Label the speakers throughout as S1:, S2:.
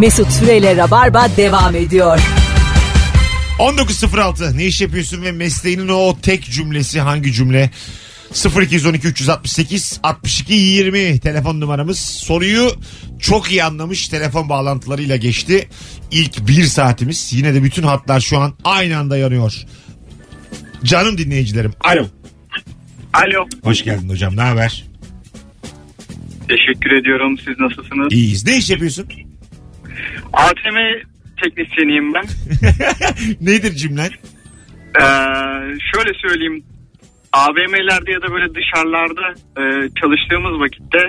S1: Mesut Süreyle Rabarba devam ediyor.
S2: 1906 ne iş yapıyorsun ve mesleğinin o tek cümlesi hangi cümle? 0212 368 62 20 telefon numaramız. Soruyu çok iyi anlamış telefon bağlantılarıyla geçti. İlk bir saatimiz yine de bütün hatlar şu an aynı anda yanıyor. Canım dinleyicilerim. Alo.
S3: Alo.
S2: Hoş geldin hocam ne haber?
S3: Teşekkür ediyorum. Siz nasılsınız?
S2: İyiyiz. Ne iş yapıyorsun?
S3: ATM teknisyeniyim ben.
S2: Nedir cümlen?
S3: Ee, şöyle söyleyeyim. AVM'lerde ya da böyle dışarılarda e, çalıştığımız vakitte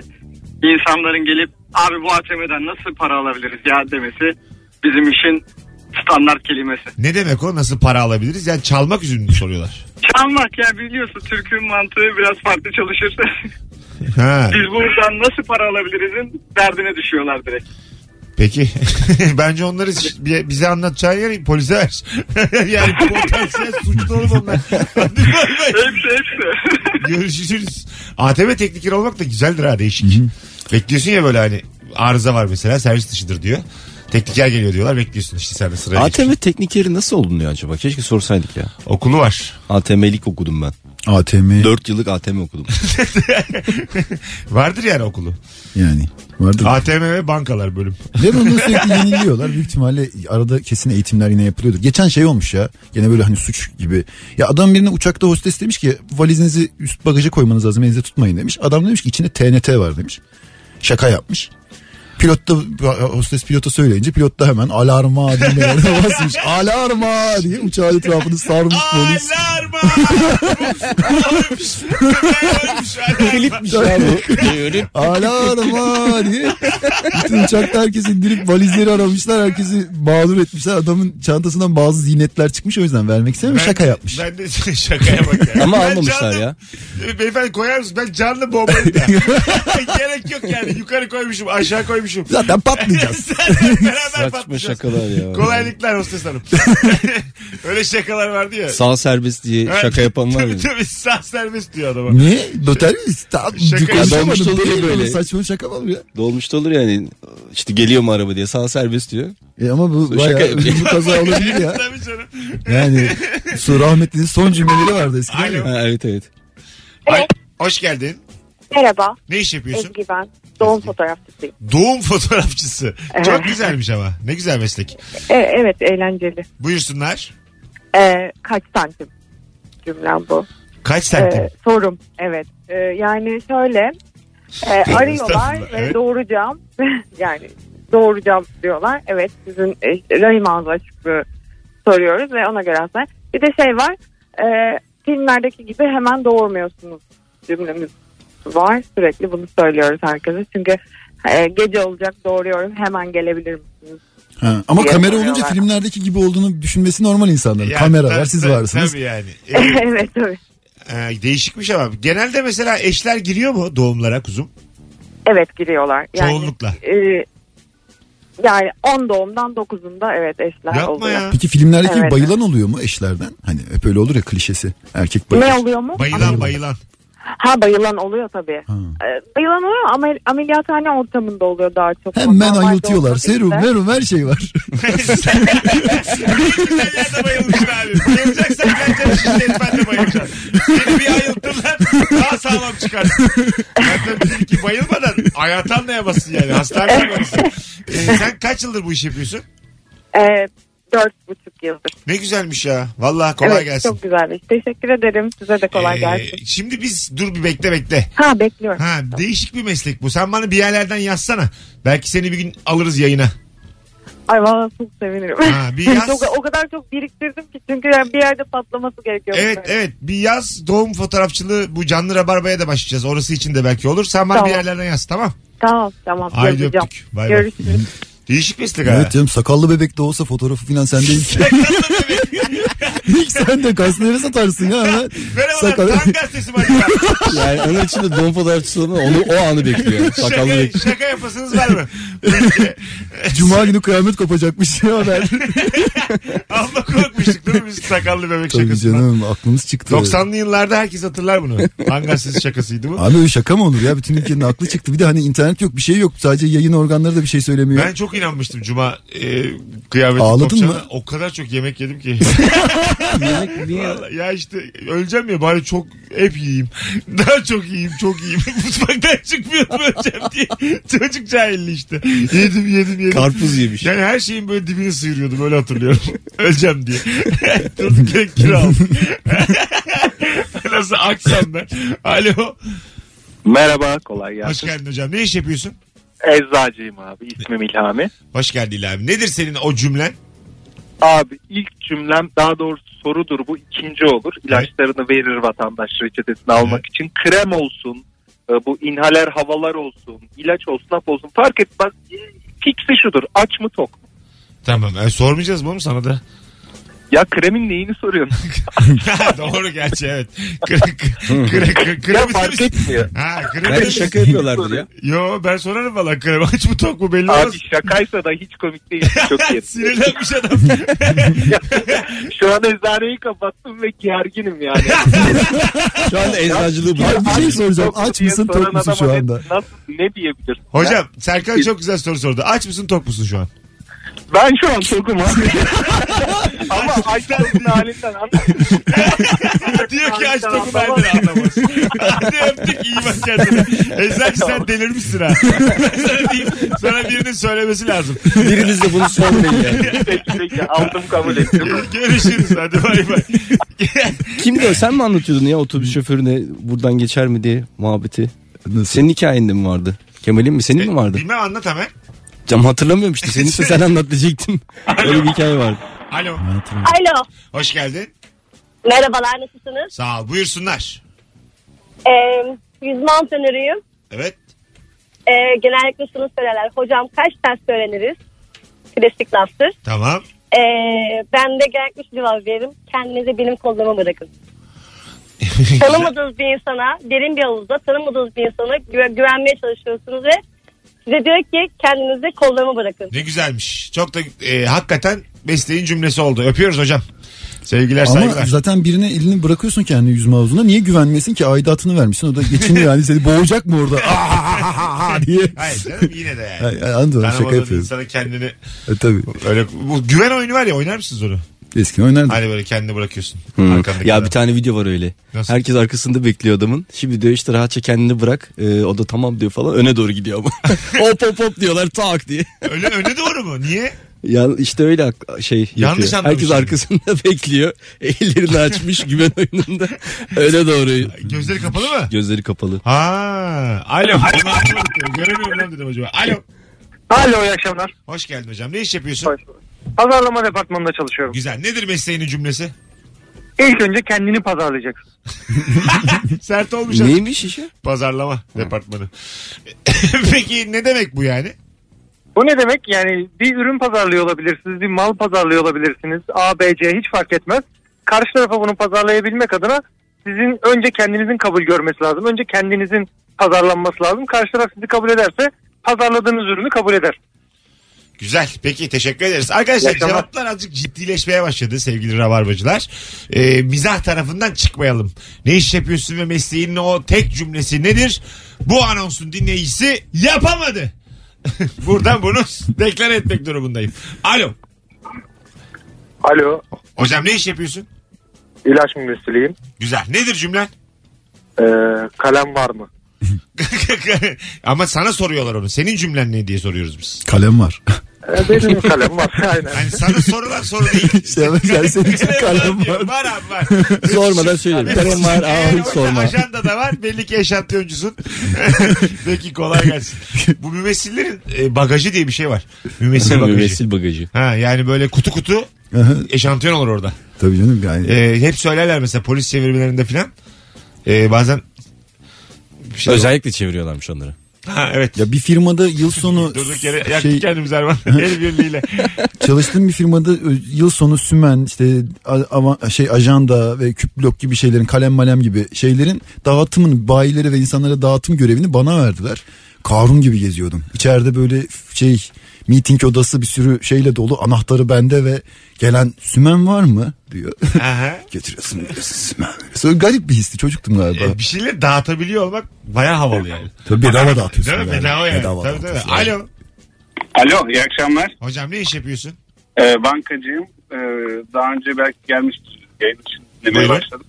S3: insanların gelip abi bu ATM'den nasıl para alabiliriz ya demesi bizim işin standart kelimesi.
S2: Ne demek o? Nasıl para alabiliriz? Yani çalmak üzerine mi soruyorlar?
S3: Çalmak ya biliyorsun Türk'ün mantığı biraz farklı çalışır.
S2: Ha.
S3: Biz buradan nasıl para alabilirizin derdine düşüyorlar direkt.
S2: Peki. Bence onları şi- bi- bize anlatacağı yer polise ver. yani potansiyel suçlu olur onlar. Hadi bay bay.
S3: Hepsi hepsi.
S2: Görüşürüz. ATM tekniker olmak da güzeldir ha değişik. Bekliyorsun ya böyle hani arıza var mesela servis dışıdır diyor. Tekniker geliyor diyorlar bekliyorsun işte sen de sıraya
S4: ATM
S2: geçmişsin.
S4: teknikeri nasıl olunuyor acaba? Keşke sorsaydık ya.
S2: Okulu var.
S4: ATM'lik okudum ben.
S5: ATM
S4: 4 yıllık ATM okudum.
S2: Vardır yani okulu.
S5: yani vardır.
S2: ATM ve bankalar bölüm.
S5: Ve bunu sürekli yeniliyorlar. Büyük ihtimalle arada kesin eğitimler yine yapılıyordur. Geçen şey olmuş ya. Gene böyle hani suç gibi. Ya adam birine uçakta hostes demiş ki valizinizi üst bagaja koymanız lazım. Elinize tutmayın demiş. Adam demiş ki içinde TNT var demiş. Şaka yapmış. Pilot da hostes pilota söyleyince pilot da hemen alarma diye bağırmaya basmış. Alarma diye uçağın etrafını sarmış polis.
S2: Alarma! Ölmüş. Ölmüş. Alarma!
S5: Alarma diye. Bütün uçakta herkes indirip valizleri aramışlar. Herkesi mağdur etmişler. Adamın çantasından bazı ziynetler çıkmış. O yüzden vermek istememiş.
S2: Ben-
S5: Şaka yapmış.
S2: Ben de şakaya bak ya.
S4: Ama
S2: Ben
S4: almamışlar
S2: canlı-
S4: ya.
S2: E, Beyefendi koyar mısın? Ben canlı bombayım da. Gerek yok yani. Yukarı koymuşum, aşağı koymuşum.
S5: Zaten patlayacağız.
S2: Beraber
S4: Saçma
S2: patlayacağız.
S4: şakalar ya.
S2: Kolaylıklar hostes hanım. Öyle şakalar vardı ya.
S4: Sağ serbest diye
S2: Evet.
S4: şaka yapan var ya.
S2: Tabii tabii sağ serbest diyor adama.
S5: ne? Noter miyiz? Tamam.
S2: Şaka
S4: yapmış
S5: Konuşamadım.
S4: oluyor
S5: Değil böyle.
S4: böyle.
S5: Saçma şaka mı bu ya?
S4: Dolmuşta olur yani. İşte geliyor mu araba diye sağ serbest diyor.
S5: E ama bu
S4: Şaka
S5: bayağı
S4: yapıyor.
S5: bu kaza olabilir ya.
S2: Tabii canım.
S5: Yani su rahmetlinin son cümleleri vardı eskiden.
S2: Alo.
S5: ya.
S4: Ha, evet evet.
S2: Ay, hoş geldin.
S6: Merhaba
S2: Ne iş yapıyorsun?
S6: Ezgi ben. Doğum fotoğrafçısıyım.
S2: Doğum fotoğrafçısı.
S6: Evet.
S2: Çok güzelmiş ama. Ne güzel meslek.
S6: E, evet eğlenceli.
S2: Buyursunlar.
S6: E, kaç santim cümlem bu?
S2: Kaç
S6: E,
S2: santim?
S6: sorum evet. E, yani şöyle e, arıyorlar
S2: Estağfurullah,
S6: ve
S2: evet.
S6: doğuracağım. yani doğuracağım diyorlar. Evet sizin e, işte rahim ağzı açıklığı soruyoruz ve ona göre aslında. Bir de şey var. E, filmlerdeki gibi hemen doğurmuyorsunuz cümlemiz var. Sürekli bunu söylüyoruz herkese. Çünkü e, gece olacak doğuruyorum hemen gelebilir misiniz?
S5: Ha. Ama
S6: Diye
S5: kamera
S6: soruyorlar.
S5: olunca filmlerdeki gibi olduğunu düşünmesi normal insanların.
S2: Yani
S5: kamera var
S2: tabii-
S5: siz
S2: tabii-
S5: varsınız.
S2: Tabii yani. Ee,
S6: evet tabii.
S2: Ee, değişikmiş ama genelde mesela eşler giriyor mu doğumlara kuzum?
S6: Evet giriyorlar. Yani,
S2: Çoğunlukla.
S6: e, yani 10 doğumdan 9'unda evet eşler
S2: Yapma
S6: oluyor.
S2: ya.
S5: Peki filmlerdeki gibi
S6: Evet.
S5: bayılan oluyor mu eşlerden? Hani hep öyle olur ya klişesi. Erkek bayılır.
S6: Ne oluyor mu?
S2: Bayılan bayılan.
S6: Ha bayılan oluyor tabii. E, bayılan oluyor ama amel- ameliyathane ortamında oluyor daha çok.
S5: Hemen
S6: Normal
S5: ayıltıyorlar.
S6: doğumda
S5: Serum,
S6: işte.
S5: merum her şey var.
S2: Sen de bayılmışsın abi. Bayılacaksan ben çalışayım seni ben de bayılacağım. Seni bir ayıltırlar daha sağlam çıkarsın. Zaten dedim ki bayılmadan hayat anlayamazsın yani. Hastaneye varırsın. Ee, sen kaç yıldır bu işi yapıyorsun?
S6: E, Dört buçuk yıldır.
S2: Ne güzelmiş ya. Vallahi kolay
S6: evet,
S2: gelsin.
S6: Çok güzel bir iş. Teşekkür ederim. Size de kolay
S2: Ee,
S6: gelsin.
S2: Şimdi biz dur bir bekle bekle.
S6: Ha bekliyorum.
S2: Ha değişik bir meslek bu. Sen bana bir yerlerden yazsana. Belki seni bir gün alırız yayına.
S6: Ay valla çok sevinirim.
S2: Ha, bir yaz.
S6: Çok- o kadar çok biriktirdim ki çünkü yani bir yerde patlaması gerekiyor.
S2: Evet
S6: bunların.
S2: evet bir yaz doğum fotoğrafçılığı bu canlı rabarbaya da başlayacağız. Orası için de belki olur. Sen bana
S6: Tamam.
S2: bir yerlerden yaz tamam.
S6: Tamam tamam.
S2: Haydi
S6: yazacağım.
S2: öptük. Bay bay.
S6: Görüşürüz.
S2: Değişik meslek ha.
S5: evet canım sakallı bebek de olsa fotoğrafı filan sende değil ki. İlk sen de kasları satarsın ya. Hemen
S2: Merhabalar
S5: sakal-
S2: tam gazetesi var.
S4: Yani onun için de don fotoğrafçısı olan onu o anı bekliyor. Sakallı
S2: şaka,
S4: bekliyor.
S2: şaka yapasınız var mı?
S5: Cuma günü kıyamet kopacakmış ya haber.
S2: Amma korkmuştuk değil mi biz sakallı bebek
S5: Tabii
S2: şakasından?
S5: canım aklımız çıktı.
S2: 90'lı yıllarda herkes hatırlar bunu. Hangasız şakasıydı bu.
S5: Abi öyle şaka mı olur ya? Bütün ülkenin aklı çıktı. Bir de hani internet yok bir şey yok. Sadece yayın organları da bir şey söylemiyor.
S2: Ben çok inanmıştım cuma e, kıyameti
S5: Ağladın
S2: kopacağına.
S5: mı?
S2: O kadar çok yemek yedim ki.
S4: Yemek niye?
S2: Vallahi ya işte öleceğim ya bari çok hep yiyeyim. Daha çok yiyeyim çok yiyeyim. Mutfaktan çıkmıyorum öleceğim diye. Çocuk cahilli işte. Yedim yedim yedim.
S4: Karpuz yemiş.
S2: yani her şeyin böyle dibini sıyırıyordum öyle hatırlıyorum. Öleceğim diye. Durduk yere kira aldım. Nasıl aksam ben. Alo.
S7: Merhaba kolay
S2: Hoş
S7: gelsin.
S2: geldin hocam. Ne iş yapıyorsun?
S7: Eczacıyım abi ismim İlhami.
S2: Hoş geldin İlhan abi. Nedir senin o cümlen?
S7: Abi ilk cümlem daha doğrusu sorudur bu ikinci olur. İlaçlarını verir vatandaş reçetesini almak için. Krem olsun, e, bu inhaler havalar olsun, ilaç olsun, hap olsun fark etmez. E, Fiksi şudur aç mı tok mu?
S2: Tamam. e, sormayacağız mı oğlum sana da?
S7: Ya kremin neyini soruyorsun?
S2: Ha, Doğru gerçi evet. Kırık. Kırık.
S7: ya
S2: Kırık.
S7: fark etmiyor.
S2: Ha kremi.
S4: Belki şaka yapıyorlardır ya.
S2: Yo ben sorarım valla kremi aç mı tok mu belli olmaz.
S7: Abi şakaysa da hiç komik değil. Çok iyi.
S2: Sinirlenmiş adam.
S7: Şu an eczaneyi kapattım ve gerginim yani.
S4: Şu anda eczacılığı
S5: Abi
S4: bırak.
S5: bir şey soracağım.
S7: Tok
S5: Aç
S7: diye
S5: mısın
S7: soran
S5: tok musun
S7: adama
S5: şu
S7: ne-
S5: anda?
S7: Nasıl, ne diyebilirsin?
S2: Hocam Serkan çok güzel soru sordu. Aç mısın tok musun şu an?
S7: Ben şu an tokum abi. Ama Aysel'in halinden anlamadım.
S2: Diyor ki aç
S7: Tamam,
S2: tokum
S7: tamam.
S2: ben de anlamaz. Hadi öptük iyi bak kendine. Eczacı sen delirmişsin ha. Ben sana diyeyim, sana birinin söylemesi lazım.
S4: Biriniz de bunu sormayın yani.
S7: Peki peki aldım kabul ettim.
S2: Görüşürüz hadi bay bay.
S4: Kimdi o? Sen mi anlatıyordun ya otobüs şoförüne buradan geçer mi diye muhabbeti?
S5: Nasıl?
S4: Senin hikayende mi vardı? Kemal'in mi? Senin mi vardı?
S2: Bilmem anlat hemen.
S4: Cam hatırlamıyorum işte. Senin ise sen anlat diyecektim. Öyle bir hikaye vardı.
S2: Alo.
S8: Alo.
S2: Hoş geldin.
S8: Merhabalar nasılsınız?
S2: Sağ ol. Buyursunlar.
S8: Ee, yüzme antrenörüyüm.
S2: Evet.
S8: Ee, genellikle şunu söylerler. Hocam kaç ters öğreniriz? Klasik laftır.
S2: Tamam.
S8: Ee, ben de genellikle şu cevabı veririm. Kendinizi benim kollarıma bırakın. tanımadığınız bir insana derin bir havuzda tanımadığınız bir insana güve- güvenmeye çalışıyorsunuz ve size diyor ki kendinizi kollarıma bırakın.
S2: Ne güzelmiş. Çok da e, hakikaten besleyin cümlesi oldu. Öpüyoruz hocam. Sevgiler
S5: Ama
S2: saygılar.
S5: zaten birine elini bırakıyorsun kendi yüzme havuzuna. Niye güvenmesin ki? Aidatını vermişsin. O da geçiniyor yani. Seni boğacak mı orada? Ah, diye.
S2: Hayır canım yine de yani.
S5: Ay, ay, Anladım şaka
S2: Tanımadığın
S5: yapıyorum.
S2: insana kendini
S5: E, tabii.
S2: öyle bu güven oyunu var ya oynar mısınız onu?
S5: Eskiden oynardık.
S2: Hani böyle kendini bırakıyorsun.
S4: Hmm.
S2: Arkandaki
S4: Ya
S2: adam.
S4: bir tane video var öyle.
S2: Nasıl?
S4: Herkes arkasında bekliyor adamın. Şimdi diyor işte rahatça kendini bırak. Ee, o da tamam diyor falan. Öne doğru gidiyor ama. hop hop hop diyorlar tak diye.
S2: Öyle öne doğru mu? Niye?
S4: Ya işte öyle ak- şey yapıyor.
S2: Yanlış anlamış
S4: Herkes
S2: şimdi.
S4: arkasında bekliyor. Ellerini açmış güven oyununda. Öne doğru.
S2: Gözleri kapalı mı?
S4: Gözleri kapalı.
S2: Ha. Alo. Bunu anlamadım. Göremiyorum lan dedim acaba. Alo.
S7: Alo iyi akşamlar.
S2: Hoş geldin hocam. Ne iş yapıyorsun?
S7: Hoş bulduk. Pazarlama departmanında çalışıyorum.
S2: Güzel. Nedir mesleğinin cümlesi?
S7: İlk önce kendini pazarlayacaksın.
S2: Sert olmuş. adam.
S4: Neymiş işi?
S2: Pazarlama departmanı. Peki ne demek bu yani?
S7: Bu ne demek? Yani bir ürün pazarlıyor olabilirsiniz, bir mal pazarlıyor olabilirsiniz. A, B, C hiç fark etmez. Karşı tarafa bunu pazarlayabilmek adına sizin önce kendinizin kabul görmesi lazım. Önce kendinizin pazarlanması lazım. Karşı taraf sizi kabul ederse pazarladığınız ürünü kabul eder.
S2: Güzel. Peki teşekkür ederiz. Arkadaşlar
S7: İyi akşamlar.
S2: cevaplar azıcık ciddileşmeye başladı sevgili rabarbacılar. Ee, mizah tarafından çıkmayalım. Ne iş yapıyorsun ve mesleğinin o tek cümlesi nedir? Bu anonsun dinleyicisi yapamadı. Buradan bunu deklar etmek durumundayım. Alo.
S7: Alo,
S2: Hocam ne iş yapıyorsun?
S7: ilaç mümessiliyim.
S2: Güzel. Nedir cümlen?
S7: kalem var mı?
S2: Ama sana soruyorlar onu. Senin cümlen ne diye soruyoruz biz.
S5: Kalem var.
S7: Ee, benim kalem var, aynen.
S2: Yani sana sorulan soru değil.
S5: İşte ben- sen- senin için kalem var.
S2: Var abi var.
S4: Sormadan söylerim. Kalem var. Aa,
S2: Eğer
S4: hiç
S2: orada
S4: sorma.
S2: Ajanda da var. Belli ki yaşantı öncüsün. Peki kolay gelsin. Bu mümessillerin e, bagajı diye bir şey var. Mümessil bagajı.
S4: Müvessil bagajı.
S2: Ha yani böyle kutu kutu
S5: Aha,
S2: eşantiyon olur orada.
S5: Tabii canım yani.
S2: E, hep söylerler mesela polis çevirmelerinde filan. E, bazen bir şey
S4: Özellikle çeviriyorlarmış onları.
S2: Ha, evet.
S5: Ya bir firmada yıl sonu
S2: Durduk yere yaktık
S5: şey,
S2: kendimizi Erman. El birliğiyle.
S5: çalıştığım bir firmada ö, yıl sonu sümen işte a- ava- şey ajanda ve küp blok gibi şeylerin kalem malem gibi şeylerin dağıtımını bayilere ve insanlara dağıtım görevini bana verdiler. Karun gibi geziyordum. İçeride böyle f- şey meeting odası bir sürü şeyle dolu anahtarı bende ve gelen sümen var mı diyor.
S2: Aha.
S5: Getiriyorsun veriyorsun sümen veriyorsun. Öyle Garip bir histi çocuktum galiba.
S2: E, bir şeyleri dağıtabiliyor olmak baya havalı yani.
S5: Tabii bedava dağıtıyorsun.
S2: Değil mi?
S5: yani.
S2: Bedava yani.
S5: Bedava
S2: tabii, tabii.
S5: dağıtıyorsun.
S2: Alo.
S3: Alo iyi akşamlar.
S2: Hocam ne iş yapıyorsun?
S3: Ee, bankacıyım. Ee, daha önce belki gelmiştir. Yayın için dinlemeye
S2: Buyurun.
S3: başladım.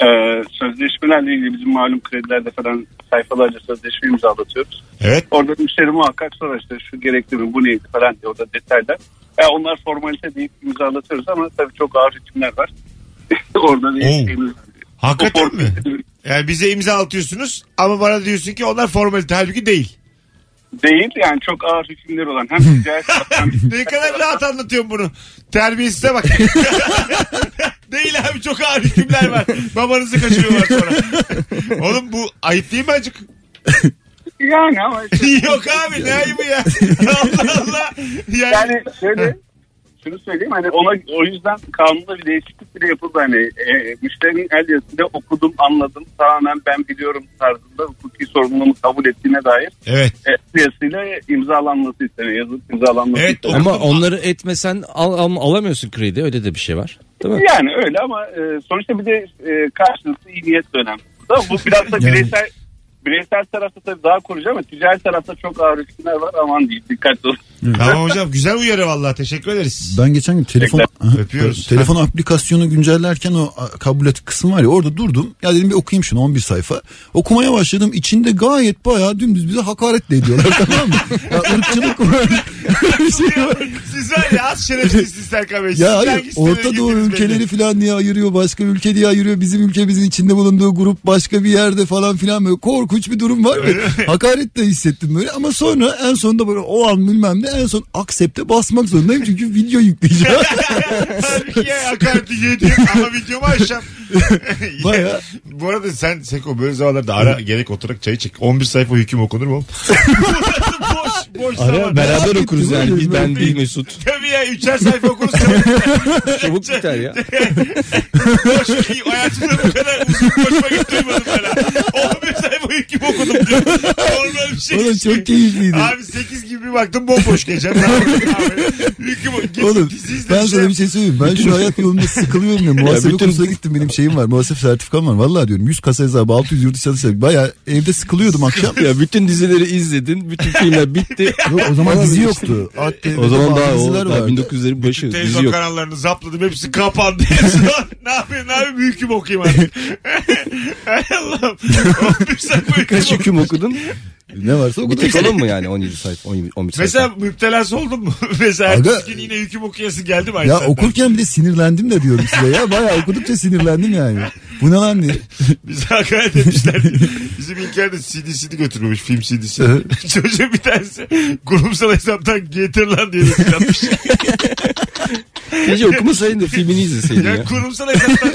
S3: Ee, sözleşmelerle ilgili bizim malum kredilerde falan sayfalarca sözleşme imzalatıyoruz.
S2: Evet.
S3: Orada müşteri muhakkak sorar işte şu gerekli mi bu neydi falan diye orada detaylar. Ya onlar formalite deyip imzalatıyoruz ama tabii çok ağır hükümler var. orada bir
S2: Oo.
S3: şeyimiz var. O
S2: Hakikaten mi?
S3: formalite
S2: Yani bize imza atıyorsunuz ama bana diyorsun ki onlar formalite halbuki değil.
S3: Değil yani çok ağır hükümler olan hem ticaret hem
S2: Ne kadar rahat anlatıyorum bunu. Terbiyesize bak. değil abi çok ağır hükümler var. Babanızı kaçırıyorlar sonra. Oğlum bu ayıp değil mi acık?
S3: yani ama işte
S2: Yok abi ne ayıbı ya. Allah Allah. Yani,
S3: yani şöyle şunu söyleyeyim hani ona o yüzden kanunda bir değişiklik bile yapıldı hani e, müşterinin el yazısıyla okudum anladım tamamen ben biliyorum tarzında hukuki sorumluluğumu kabul ettiğine dair
S2: evet.
S3: e, el yazısıyla imzalanması isteniyor yazılıp imzalanması
S2: Evet,
S3: isteniyor.
S4: Ama onları etmesen al, al- alamıyorsun kredi öyle de bir şey var. Değil mi?
S3: Yani öyle ama e, sonuçta bir de e, karşılıklı iyi niyet de önemli. Ama bu biraz da
S5: Yani-
S3: bireysel bireysel tarafta tabii daha korucu ama ticari tarafta çok ağır riskler var aman diyeyim dikkatli olun.
S2: Tamam hocam güzel uyarı vallahi teşekkür ederiz.
S5: Ben geçen gün telefon
S2: Öpüyoruz.
S5: telefon aplikasyonu güncellerken o a- kabul et kısmı var ya orada durdum. Ya dedim bir okuyayım şunu 11 sayfa. Okumaya başladım. İçinde gayet bayağı dümdüz bize hakaretle ediyorlar tamam mı? Ya ırkçılık var. Bir şey var.
S2: Siz var ya az şerefsizsiniz Serkan Bey. Siz
S5: Ya hayır
S2: hangi sitelere
S5: Orta Doğu
S2: girdiniz
S5: ülkeleri
S2: belli.
S5: falan diye ayırıyor başka ülke diye ayırıyor. Bizim ülkemizin içinde bulunduğu grup başka bir yerde falan filan böyle korkunç bir durum var ve hakaret de hissettim böyle. Ama sonra en sonunda böyle o an bilmem ne en son accept'e basmak zorundayım çünkü video yükleyeceğim.
S2: Halbuki ya hakareti yedim ama videomu açacağım.
S5: Baya.
S2: Bu arada sen Seko böyle zamanlarda ara gerek oturarak çayı çek. 11 sayfa hüküm okunur mu? oğlum? Burası boş boş zaman.
S4: Ara beraber
S5: Merak
S4: okuruz
S5: ettim,
S4: yani.
S5: öyle
S4: Bir ben
S5: bir-
S4: bir Mesut.
S2: Tabii ya üçer sayfa okursun.
S4: Çabuk biter ya.
S2: boş şey, hayatımda bu kadar uzun boş vakit duymadım ben. 11 sayfa hüküm okudum diyor. Normal bir şey.
S5: Oğlum
S2: işte.
S5: çok keyifliydi.
S2: Abi 8 gibi bir baktım bomboş gece. Ne yapayım abi? Hüküm git
S5: Oğlum
S2: dizi izle,
S5: ben
S2: bir şey
S5: sana bir şey söyleyeyim. Ben şu hayat yolunda sıkılıyorum ya. Muhasebe
S4: Ya bütün-
S5: kursuna gittim benim şeyim var. Muhasebe sertifikam var. Vallahi diyorum 100 kasa hesabı 600 yurt dışı hesabı. Baya evde sıkılıyordum akşam.
S4: Ya bütün dizileri izledin. Bütün filmler bitti.
S5: Yok, o zaman dizi yoktu. ATV'de
S4: şey- O zaman daha o
S5: diziler
S4: daha
S5: vardı.
S4: 1900'lerin başı dizi
S2: Televizyon
S4: yok.
S2: kanallarını zapladım hepsi kapandı. Hepsi lan, ne yapayım ne yapayım hüküm okuyayım artık. Hay Allah'ım. 11 sayfa hüküm
S4: Kaç
S2: okudum.
S4: hüküm okudun?
S5: Ne varsa o
S4: Bir tek onun mu yani 17 sayfa 11 sayfa?
S2: Mesela müptelası oldun mu? Mesela
S5: Aga-
S2: ertesi gün yine hüküm okuyası geldi mi? aynı
S5: Ya
S2: saatten?
S5: okurken bir de sinirlendim de diyorum size ya. Bayağı okudukça sinirlendim yani. Bu ne lan diye.
S2: Bize hakaret etmişler. Bizim İlker de CD'sini götürmemiş film CD'sini. Çocuğun bir tanesi kurumsal hesaptan getir lan diye mesaj atmış.
S4: Gece okumasaydın da filmini izleseydin
S2: ya
S4: ya.
S2: kurumsal hesaptan.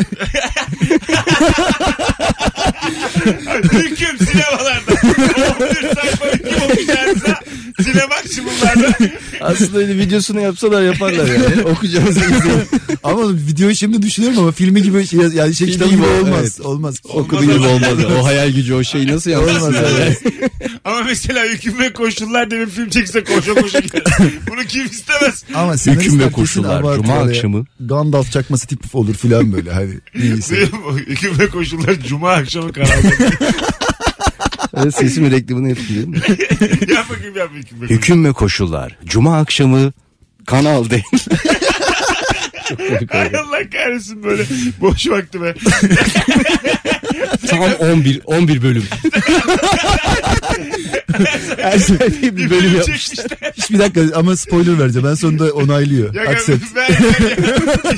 S2: Hüküm sinemalarda. 11 sayfa hüküm okuyacağınıza sinemaksimumlarda.
S4: Aslında öyle videosunu yapsalar yaparlar yani. Okuyacağız.
S5: Ama videoyu şimdi düşünüyorum ama filmi gibi şey, yani şey
S4: Filmi
S5: kitabı gibi
S4: gibi,
S5: olmaz.
S4: evet.
S5: Olmaz.
S4: Okuduğu gibi olmaz. O hayal gücü o şey nasıl yansıtsın?
S5: Olmaz,
S4: yani?
S2: Ama mesela hüküm ve koşullar diye bir film çekse koşa koşa gider. Bunu kim istemez?
S4: Hüküm
S5: Ama
S4: ve
S5: senaristler kesin
S4: koşullar,
S5: abartıyor
S4: cuma
S5: ya.
S4: akşamı.
S5: Gandalf çakması tipi olur filan böyle. Hani neyse.
S2: Hüküm ve koşullar cuma akşamı kanalda.
S4: Evet, Sesimin reklamını yapayım.
S2: yap bakayım yap hüküm ve koşullar.
S4: Hüküm ve koşullar. Cuma akşamı Kanal D.
S2: Ay Allah kahretsin böyle boş vakti be.
S4: Tam 11 11 bölüm. Her sayfaya bir bölüm yapmış.
S2: Çekmişler.
S5: Hiçbir dakika ama spoiler vereceğim. En sonunda onaylıyor.
S2: Ya
S5: Accept.
S2: ben, ben,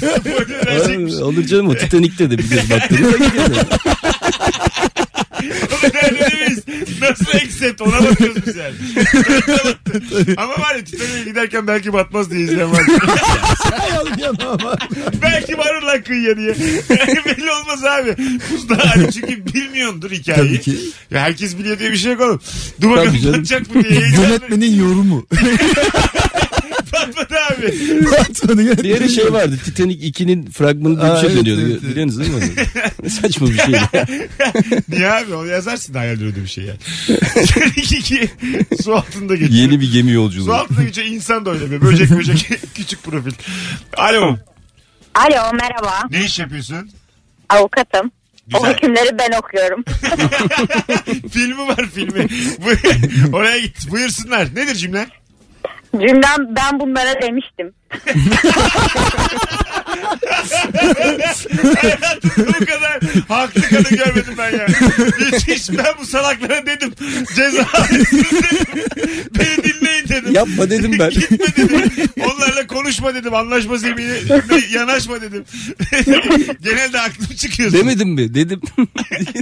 S2: ben,
S4: Olur canım o Titanik'te de bir göz baktığını.
S2: Derdimiz nasıl accept ona bakıyoruz biz yani. ama var ya Titanic'e giderken belki batmaz diye izleyen var. belki varır lan kıyıya diye. Belli olmaz abi. Usta hani çünkü bilmiyordur hikayeyi.
S5: Tabii ki.
S2: Ya herkes biliyor diye bir şey yok oğlum. Dur bakalım
S4: Tabii canım.
S2: batacak mı diye. Yönetmeni
S5: Yönetmenin yorumu.
S2: batmadı abi.
S5: Atmadı yönetmenin
S4: Diğeri şey vardı Titanic 2'nin fragmanı diye bir
S5: Aa,
S4: şey
S5: evet,
S4: dönüyordu.
S5: evet, evet.
S4: Biliyorsunuz değil mi onu? Ne saçma bir şey.
S2: Niye abi onu yazarsın da hayal ürünü bir şey yani. Seninki ki su altında geçiyor.
S4: Yeni bir gemi
S2: Su
S4: yolculuğu.
S2: altında geçiyor insan da oynamıyor. Böcek böcek küçük profil. Alo
S9: Alo merhaba.
S2: ne iş yapıyorsun?
S9: Avukatım. O
S2: Güzel.
S9: hükümleri ben okuyorum.
S2: filmi var filmi. Bu- Oraya git buyursunlar. Nedir cümle?
S9: Cümlem ben bunlara demiştim.
S2: Hayatımda bu kadar haklı kadın görmedim ben ya. Müthiş ben bu salaklara dedim. Ceza alıyorsunuz dedim. Beni dinleyin dedim.
S4: Yapma dedim ben.
S2: Gitme dedim. Onlarla konuşma dedim. Anlaşma zemini yanaşma dedim. Genelde aklım çıkıyor.
S4: Demedim mi? Dedim.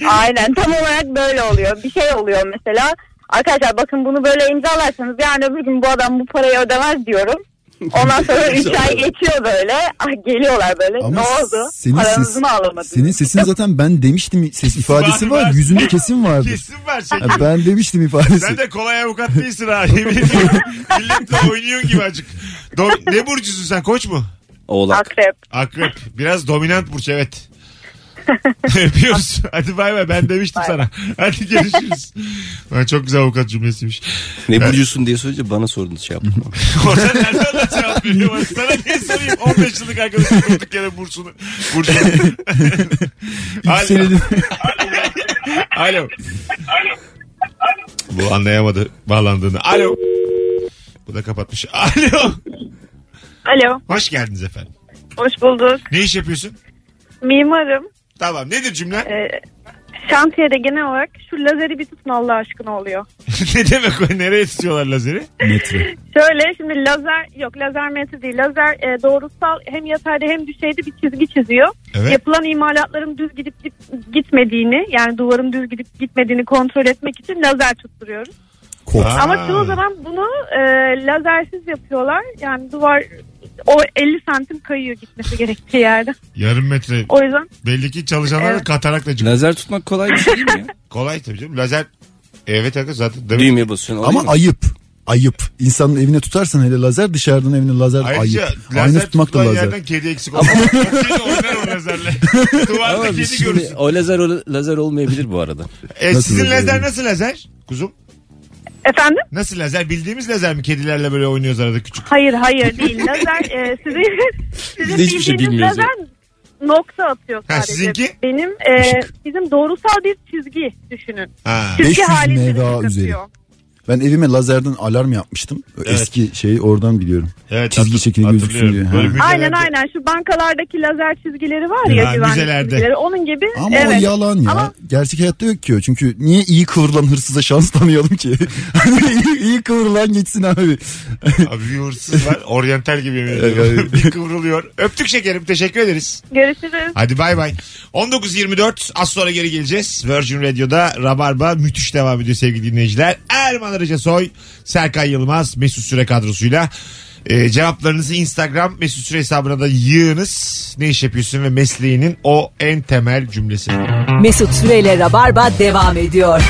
S9: Aynen tam olarak böyle oluyor. Bir şey oluyor mesela. Arkadaşlar bakın bunu böyle imzalarsanız yarın öbür gün bu adam bu parayı ödemez diyorum. Ondan sonra 3 ay geçiyor böyle. Ah geliyorlar böyle.
S5: Ama
S9: ne oldu?
S5: senin
S9: Paranızı
S5: ses-
S9: mı alamadınız?
S5: Senin sesin zaten ben demiştim ses ifadesi
S2: Var, var.
S5: var. Yüzünde kesin vardır.
S2: Kesin var şey.
S5: Ha, Ben demiştim ifadesi.
S2: Sen de kolay avukat değilsin ha. Yemin ediyorum. Milletle oynuyorsun gibi acık. Do- ne burcusun sen koç mu?
S4: Oğlak.
S9: Akrep.
S2: Akrep. Biraz dominant burç evet. Öpüyoruz. Hadi bay bay. Ben demiştim sana. Hadi görüşürüz. Ha, çok güzel avukat cümlesiymiş.
S4: Ne biliyorsun diye sorunca bana sordunuz şey yapma.
S2: Orada nereden de cevap veriyor? bana? Sana ne sorayım? 15 yıllık arkadaşım durduk yere burçunu. Burcunu. Alo.
S5: Senin
S2: Alo. Bu anlayamadı bağlandığını. Alo. Bu da kapatmış. Alo.
S9: Alo.
S2: Hoş geldiniz efendim.
S9: Hoş bulduk.
S2: Ne iş yapıyorsun?
S9: Mimarım. Ee,
S2: Tamam nedir cümle?
S9: Şantiyede genel olarak şu lazeri bir tutun Allah aşkına oluyor.
S2: ne demek o? Nereye tutuyorlar lazeri?
S5: metre.
S9: Şöyle şimdi lazer yok lazer metresi değil lazer e, doğrusal hem yatayda hem düşeyde bir çizgi çiziyor.
S2: Evet.
S9: Yapılan imalatların düz gidip git- gitmediğini yani duvarın düz gidip gitmediğini kontrol etmek için lazer tutturuyoruz.
S5: Kod.
S2: Aa.
S9: Ama çoğu zaman bunu e, lazersiz yapıyorlar yani duvar o 50 santim kayıyor gitmesi gerektiği yerde.
S2: Yarım metre.
S9: O yüzden
S2: Belli ki çalışanlar
S9: Evet.
S2: katarakla çıkıyor.
S4: Lazer tutmak kolay bir şey değil mi ya?
S2: Kolay tabii canım. Lazer Evet arkadaş zaten demek-
S4: Düğmeye basıyorsun.
S5: Ama
S4: Ama
S5: ayıp. Ayıp. İnsanın evine tutarsan hele lazer dışarıdan evine lazer
S2: Ayrıca
S5: ayıp. Aynı
S2: lazer
S5: tutmak da
S2: tutulan
S5: lazer.
S2: yerden kedi eksik olmaz. kedi oynar o lazerle. Duvarda
S4: Ama
S2: kedi görürsün.
S4: şimdi, o lazer o lazer olmayabilir bu arada.
S2: E,
S5: Nasıl
S2: sizin
S5: lazer
S2: lazer
S5: yani?
S2: nasıl lazer? Kuzum
S9: efendim
S2: nasıl lazer? Bildiğimiz lazer mi? Kedilerle böyle oynuyoruz arada küçük.
S9: hayır hayır değil lazer e, sizin,
S4: Biz
S9: sizin
S4: de hiçbir şey
S9: bildiğiniz
S4: bilmiyoruz ya.
S9: lazer nokta atıyor
S2: Ha,
S9: sadece.
S2: sizinki?
S9: Benim e, bizim doğrusal bir çizgi düşünün.
S2: Ha.
S9: Çizgi
S5: 500
S9: halinde
S5: mega
S9: ışık
S5: üzeri.
S9: atıyor.
S5: Ben evime lazerden alarm yapmıştım. Eski şeyi oradan biliyorum.
S2: Evet,
S5: Çizgi
S2: hatır-
S5: şekli gözüksün
S2: hatırlıyorum.
S5: diye.
S2: Böyle
S5: Ha.
S2: müzelerde-
S9: Aynen aynen şu bankalardaki lazer çizgileri var
S2: Ha,
S9: ya güvenlik
S2: müzelerde.
S9: çizgileri onun gibi.
S5: Ama
S9: evet.
S5: o yalan ya.
S9: Ama-
S5: Gerçek hayatta yok ki o. Çünkü niye iyi kıvrılan hırsıza şans tanıyalım ki? iyi, iyi kıvrılan geçsin abi.
S2: Abi bir hırsız var. Oryantal gibi yemin
S5: Evet,
S2: ediyorum.
S5: evet.
S2: bir kıvrılıyor. Öptük şekerim. Teşekkür ederiz.
S9: Görüşürüz.
S2: Hadi bay bay. 19.24 az sonra geri geleceğiz. Virgin Radio'da Rabarba müthiş devam ediyor sevgili dinleyiciler. Erman Arıca Soy, Serkan Yılmaz, Mesut Süre kadrosuyla. Ee, cevaplarınızı Instagram Mesut Süre hesabına da yığınız. Ne iş yapıyorsun ve mesleğinin o en temel cümlesi.
S1: Mesut Süreyle Rabarba devam ediyor.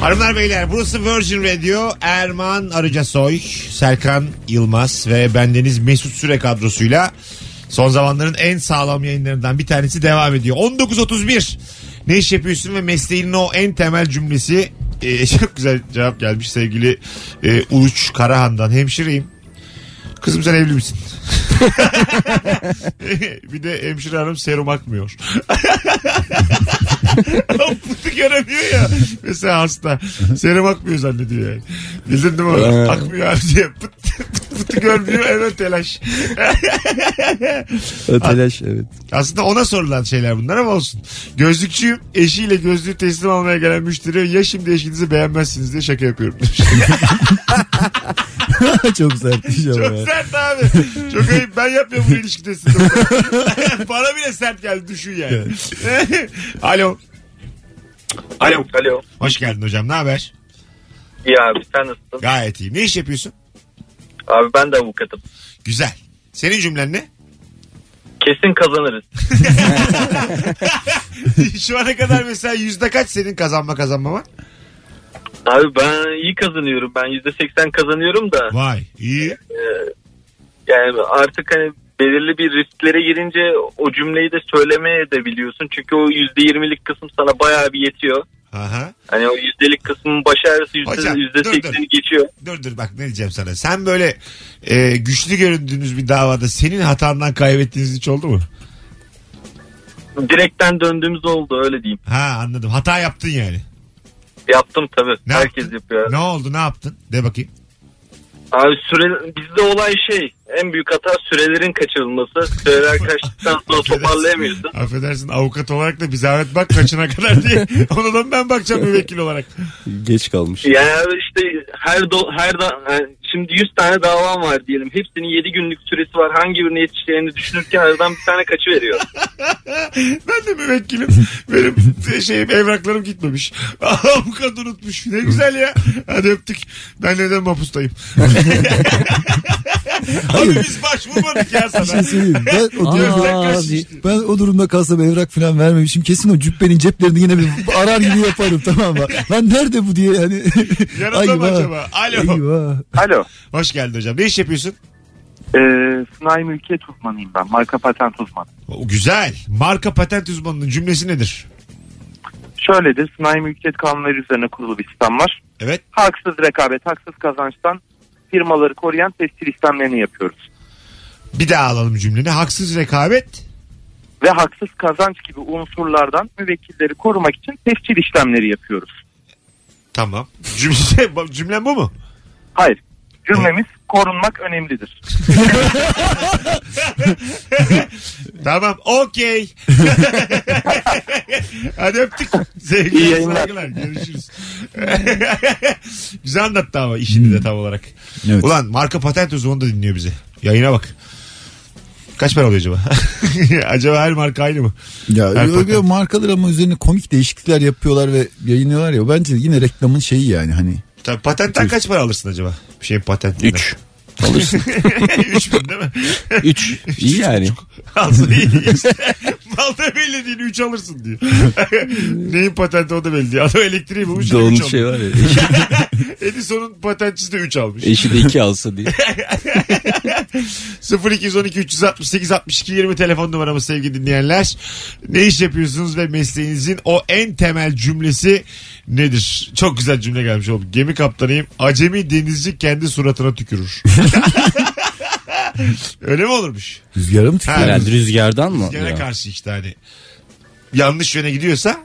S2: Hanımlar beyler burası Virgin Radio. Erman Arıca Soy, Serkan Yılmaz ve bendeniz Mesut Süre kadrosuyla son zamanların en sağlam yayınlarından bir tanesi devam ediyor. 19.31 ne iş yapıyorsun ve mesleğinin o en temel cümlesi Ee, çok güzel cevap gelmiş sevgili e, Uluç Karahan'dan hemşireyim. Kızım sen evli misin? bir de hemşire hanım serum akmıyor. Putu göremiyor ya. Mesela hasta. Serum akmıyor zannediyor yani. Bildin değil mi? onu?
S4: Ee.
S2: akmıyor abi diye. Pıt, putu görmüyor hemen telaş.
S4: O telaş evet.
S2: Aslında ona sorulan şeyler bunlar ama olsun. Gözlükçüyüm. Eşiyle gözlüğü teslim almaya gelen müşteri ya şimdi eşinizi beğenmezsiniz diye şaka yapıyorum demiş.
S5: Çok sert bir şey ama ya.
S2: Çok sert abi. Çok ayıp. Ben yapmıyorum bu ilişki testini. Bana bile sert geldi düşün yani. Alo. Alo.
S7: Alo.
S2: Hoş geldin hocam. Ne haber?
S7: İyi abi sen nasılsın?
S2: Gayet iyi. Ne iş yapıyorsun?
S7: Abi ben de avukatım.
S2: Güzel. Senin cümlen ne?
S7: Kesin kazanırız.
S2: Şu ana kadar mesela yüzde kaç senin kazanma kazanmama?
S7: Abi ben iyi kazanıyorum. Ben %80 kazanıyorum da.
S2: Vay iyi.
S7: Yani artık hani belirli bir risklere girince o cümleyi de söylemeye de biliyorsun. Çünkü o %20'lik kısım sana bayağı bir yetiyor.
S2: Aha.
S7: Hani o yüzdelik kısmın baş ağrısı yüzde,
S2: Hocam,
S7: yüzde
S2: dur,
S7: sekseni
S2: dur.
S7: geçiyor.
S2: Dur dur bak ne diyeceğim sana. Sen böyle e, güçlü göründüğünüz bir davada senin hatandan kaybettiğiniz hiç oldu mu?
S7: Direkten döndüğümüz oldu öyle diyeyim.
S2: Ha anladım. Hata yaptın yani.
S7: Yaptım tabii.
S2: Ne
S7: Herkes
S2: yaptın?
S7: yapıyor.
S2: Ne oldu ne yaptın? De bakayım.
S7: Abi süre, bizde olay şey en büyük hata sürelerin kaçırılması. Süreler kaçtıktan sonra toparlayamıyorsun.
S2: Affedersin avukat olarak da bir zahmet bak kaçına kadar diye. Ona da ben bakacağım müvekkil olarak.
S4: Geç kalmış.
S7: Yani abi işte her do, her da, yani şimdi 100 tane davam var diyelim. Hepsinin 7 günlük süresi var. Hangi birine yetişeceğini düşünürken aradan bir tane kaçıveriyor.
S2: Ben de müvekkilim. Benim şeyim evraklarım gitmemiş. Avukat unutmuş. Ne güzel ya. Hadi öptük. Ben neden mapustayım? Abi biz başvurmadık ya
S5: Bir şey
S2: sana.
S5: söyleyeyim. Ben o,
S2: Gözden
S5: durumda,
S2: kaçmış.
S10: abi.
S5: ben o durumda kalsam evrak falan vermemişim. Kesin o cübbenin ceplerini yine bir arar gibi yaparım tamam mı? Lan nerede bu diye hani.
S2: Yanında mı acaba? Alo.
S5: Eyvah.
S3: Alo.
S2: Hoş geldin hocam. Ne iş yapıyorsun?
S3: Ee, sınai mülkiyet uzmanıyım ben. Marka patent uzmanı.
S2: O güzel. Marka patent uzmanının cümlesi nedir?
S3: Şöyledir. Sınai mülkiyet kanunları üzerine kurulu bir sistem var.
S2: Evet.
S3: Haksız rekabet, haksız kazançtan firmaları koruyan tescil işlemlerini yapıyoruz.
S2: Bir daha alalım cümleni. Haksız rekabet.
S3: Ve haksız kazanç gibi unsurlardan müvekkilleri korumak için tescil işlemleri yapıyoruz.
S2: Tamam. Cümle, cümlen bu mu?
S3: Hayır. Cümlemiz korunmak önemlidir.
S2: Tamam. Okey. Hadi öptük.
S3: İyi
S2: Sevgiler,
S3: yayınlar.
S2: saygılar. Görüşürüz. Güzel anlattı ama işini de tam olarak.
S5: Evet.
S2: Ulan marka patent uzmanı da dinliyor bizi. Yayına bak. Kaç para oluyor acaba? acaba her marka aynı mı?
S5: Ya
S2: Her
S5: öyle
S2: patent.
S5: markalar ama üzerine komik değişiklikler yapıyorlar ve yayınlıyorlar ya. Bence yine reklamın şeyi yani hani.
S2: Tabii patentten kaç para alırsın acaba? Bir şey, şeyin patentinden.
S4: 3. Alırsın.
S2: 3 bin değil mi?
S4: 3. İyi yani.
S2: Alsın iyi. İşte mal da belli değil 3 alırsın diyor. Neyin patenti o da belli değil. Adam elektriği bulmuş.
S4: Doğum
S2: üç almış.
S4: şey var ya. Eşi,
S2: Edison'un patentçisi de 3 almış.
S4: eşi de iki alsa diye.
S2: 0212 368 62 20 telefon numaramız sevgili dinleyenler. Ne iş yapıyorsunuz ve mesleğinizin o en temel cümlesi nedir? Çok güzel cümle gelmiş oldu. Gemi kaptanıyım. Acemi denizci kendi suratına tükürür. Öyle mi olurmuş?
S5: Rüzgarı mı tükürüyor?
S4: Herhalde rüzgardan mı?
S2: Gene
S4: Ya.
S2: karşı işte hani yanlış yöne gidiyorsa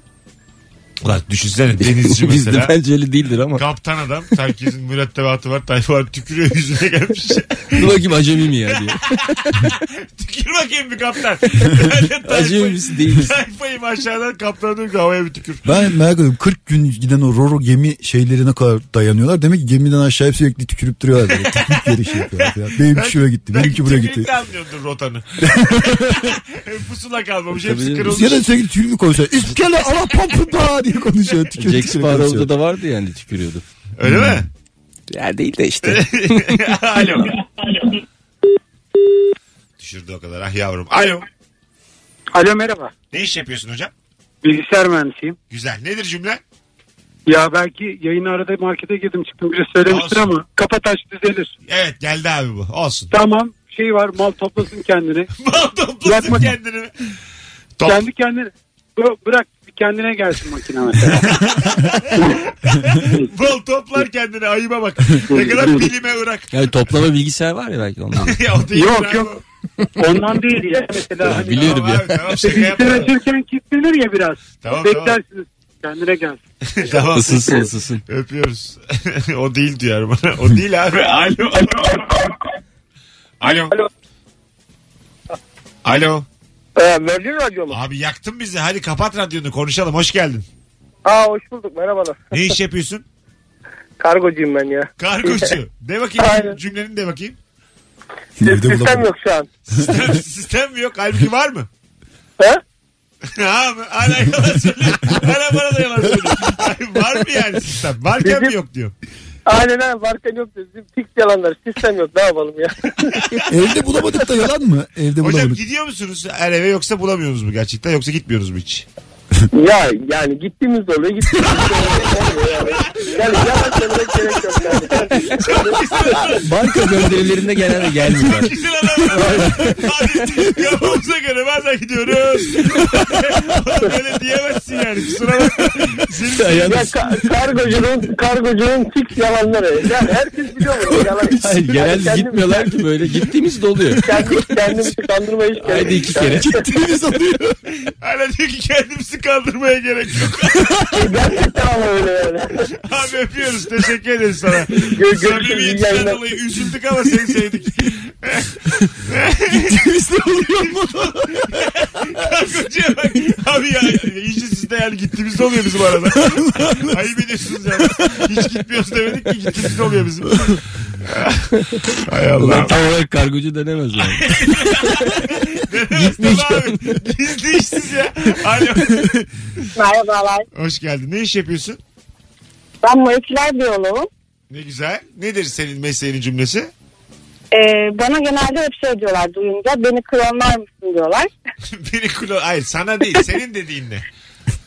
S2: Ulan düşünsene denizci
S4: Bizde
S2: mesela.
S4: bence öyle değildir ama.
S2: Kaptan adam. Herkesin mürettebatı var. Tayfa var. Tükürüyor yüzüne gelmiş.
S4: Dur bakayım acemi mi ya diye.
S2: Tükür bakayım bir kaptan.
S4: Acemi
S2: Tayfayı-
S4: misin değil misin?
S2: Tayfayım aşağıdan kaptana diyor ki havaya bir tükür.
S5: Ben merak ediyorum 40 gün giden o Roro gemi şeyleri ne kadar dayanıyorlar. Demek ki gemiden aşağı hep sürekli tükürüp duruyorlar. Böyle. Tükürük yeri şey yapıyorlar. falan. Benimki şuraya gitti. Benimki buraya gitti.
S2: Tükürükle anlıyordur rotanı. Pusula kalmamış. Hepsi
S4: Tabii.
S2: kırılmış.
S5: Ya da sürekli tükürük konuşuyor. İskele ala popu da diye konuşuyor. Tükürük
S4: Jack
S5: tükürük
S4: Sparrow'da
S5: konuşuyor.
S4: da vardı yani tükürüyordu.
S2: Öyle mi?
S4: Ya değil de işte.
S2: Alo. Düşürdü o kadar ah yavrum. Alo.
S7: Alo merhaba.
S2: Ne iş yapıyorsun hocam?
S7: Bilgisayar mühendisiyim.
S2: Güzel. Nedir cümle?
S7: Ya belki yayın arada markete girdim çıktım biri söylemiştir
S2: Olsun.
S7: ama kafa taş düzelir.
S2: Evet geldi abi bu. Olsun.
S7: Tamam şey var mal toplasın kendini.
S2: Mal toplasın
S7: Yapma.
S2: kendini. Top.
S7: Kendi kendine Bı- bırak bir kendine gelsin makine mesela.
S2: Bol toplar kendini ayıba bak. Ne kadar bilime ırak.
S4: Yani toplama bilgisayar var ya belki ondan.
S2: ya o değil
S7: Yok,
S2: abi.
S7: yok. Ondan değil ya mesela. Hani,
S4: Biliyorum.
S2: Tamam abi, tamam şaka
S7: Bilgisayar
S2: yapma.
S7: açırken kilitlenir ya biraz.
S2: Tamam,
S7: Beklersiniz. Kendine gelsin.
S2: tamam.
S4: Isınsın ısınsın.
S2: Öpüyoruz. o değil diyor bana. O değil abi. Alo. Alo. Alo. Alo.
S7: Ee, Berlin Radyolu.
S2: Abi yaktın bizi. Hadi kapat radyonu konuşalım. Hoş geldin.
S7: Aa hoş bulduk merhabalar.
S2: Ne iş yapıyorsun?
S7: Kargocuyum ben ya.
S2: Kargocu. De bakayım.
S7: Aynen.
S2: Cümlenin de bakayım.
S5: Evde bulamadım.
S7: yok şu an.
S2: Sistem, sistem mi yok? Halbuki var mı?
S7: He?
S2: Ha, hala yalan söylüyor. Hala bana da yalan söylüyor. Ay, var mı yani sistem? Varken mi yok diyor.
S7: Aynen ha varken yok dedi. Fix yalanlar sistem yok ne yapalım ya.
S5: Evde bulamadık da yalan mı? Evde
S2: Hocam
S5: bulamadık.
S2: gidiyor musunuz her eve yoksa bulamıyorsunuz mu gerçekten yoksa gitmiyoruz mu hiç?
S7: ya yani gittiğimiz oluyor gittiğimiz oluyor. Yani, yani yalan söylemek gerek yok. Yani.
S4: Banka gönderilerinde genelde gelmiyor.
S2: Güzel adamlar. Hadi yapımıza göre bazen gidiyoruz. Böyle diyemezsin yani kusura bakma. Senin-
S7: Ya
S4: Yalnız-
S7: ka- kargocunun, kargocunun fix yalanları. Yani herkes biliyor bunu. Yalan.
S4: Hayır, genelde
S7: kendim-
S4: gitmiyorlar ki böyle. Gittiğimiz de oluyor.
S7: Kendim, kendimi kandırmaya hiç gerek
S4: Haydi
S7: yok.
S4: iki kere.
S5: Gittiğimiz oluyor.
S2: Hala diyor ki kendimizi kandırmaya gerek yok.
S7: Gerçekten ama öyle yani.
S2: Abi öpüyoruz teşekkür ederiz sana.
S7: görüşürüz, iyi
S2: Samimiyetinden
S7: yayınlar.
S2: dolayı üzüldük ama seni sevdik.
S5: Gittiğimiz de oluyor mu?
S2: Kocaya bak. Abi ya iyice sizde yani gittiğimiz de oluyor bizim arada. Ayıp ediyorsunuz ya. Hiç gitmiyoruz demedik ki gittiğimiz de oluyor bizim. Hay Allah.
S4: Ulan tam olarak kargocu denemez yani.
S2: Gitmiş. Gizli işsiz ya. Alo.
S9: Merhabalar.
S2: Hoş geldin. Ne iş yapıyorsun?
S9: Ben moleküler biyoloğum.
S2: Ne güzel. Nedir senin mesleğinin cümlesi?
S9: Ee, bana genelde hep şey diyorlar duyunca beni klonlar mısın diyorlar.
S2: Beni klon... Hayır sana değil. Senin dediğin ne?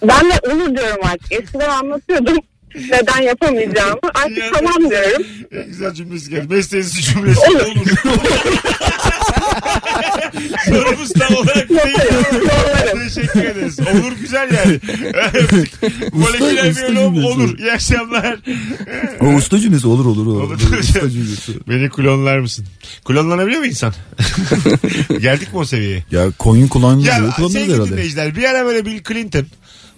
S9: Ben de olur diyorum artık. Eskiden anlatıyordum neden yapamayacağımı. Artık
S2: Yani-
S9: tamam diyorum.
S2: Ne güzel cümlesi geldi. Mesleğinizin cümlesi olur. Sorumuz tam olarak değil. Teşekkür ederiz. Olur güzel yani. Moleküler
S5: usta
S2: biyoloğum
S5: cümlesi.
S2: olur. İyi akşamlar.
S5: O usta cümlesi olur olur. olur.
S2: Olur hocam.
S5: usta cümlesi.
S2: Beni klonlar mısın? Klonlanabiliyor mu insan? Geldik mi o seviyeye?
S5: Ya koyun kullanılıyor.
S2: Ya şey
S5: kullanılıyor
S2: sevgili
S5: herhalde.
S2: dinleyiciler bir ara böyle Bill Clinton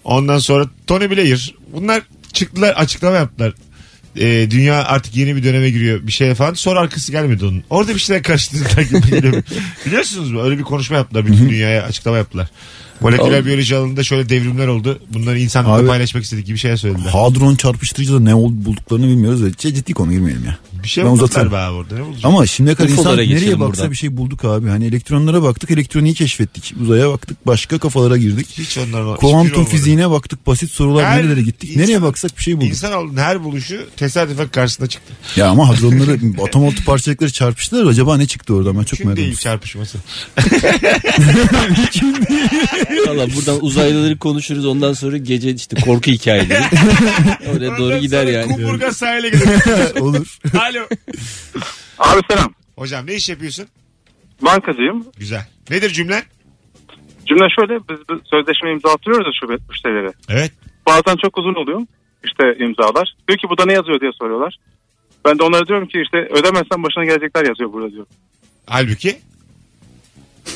S2: ondan sonra Tony Blair bunlar çıktılar açıklama yaptılar. Ee, dünya artık yeni bir döneme giriyor bir şey falan. Sonra arkası gelmedi onun. Orada bir şeyler karıştırdılar gibi geliyor. Biliyorsunuz mu? Öyle bir konuşma yaptılar. Bütün dünyaya açıklama yaptılar. Moleküler
S4: Oğlum.
S2: biyoloji alanında şöyle devrimler oldu. Bunları insanlarla
S5: Abi-
S2: paylaşmak istedik gibi şeyler söylediler.
S5: Hadron çarpıştırıcıda ne ol- bulduklarını bilmiyoruz. Ve şey, ciddi konu girmeyelim ya.
S2: Bir şey
S5: Ben
S2: buldular
S5: uzatırım.
S2: be abi orada. Ne bulacak?
S5: Ama şimdiye kadar
S4: Ufolara
S5: insan nereye
S4: geçelim
S5: baksa
S4: buradan.
S5: bir şey bulduk abi. Hani elektronlara baktık, elektroniği keşfettik. Uzaya baktık, başka kafalara girdik.
S2: Hiç onların hiçbiri
S5: Kuantum
S2: olmadı.
S5: fiziğine baktık, basit sorular
S2: Her
S5: nerelere gittik.
S2: insan-
S5: nereye baksak bir şey bulduk.
S2: İnsanoğlunun her buluşu tesadüfen karşısına çıktı.
S5: Ya ama hadronları, atom altı parçacıkları çarpıştılar. Acaba ne çıktı orada? Ben çok
S2: Kim
S5: merak
S2: değil
S5: ediyorum.
S2: çarpışması.
S4: Valla buradan uzaylıları konuşuruz ondan sonra gece işte korku hikayeleri. Oraya doğru
S2: Ondan
S4: gider
S2: sonra
S4: yani.
S2: Kumburgaz sahile gidelim.
S5: Olur.
S2: Alo.
S7: Abi selam.
S2: Hocam ne iş yapıyorsun?
S7: Bankacıyım.
S2: Güzel. Nedir cümlen?
S7: Cümle şöyle biz biz sözleşme imzalatıyoruz ya şube müşterilere.
S2: Evet.
S7: Bazen çok uzun oluyor işte imzalar. Diyor ki bu da ne yazıyor diye soruyorlar. Ben de onlara diyorum ki işte ödemezsen başına gelecekler yazıyor burada diyor.
S2: Halbuki.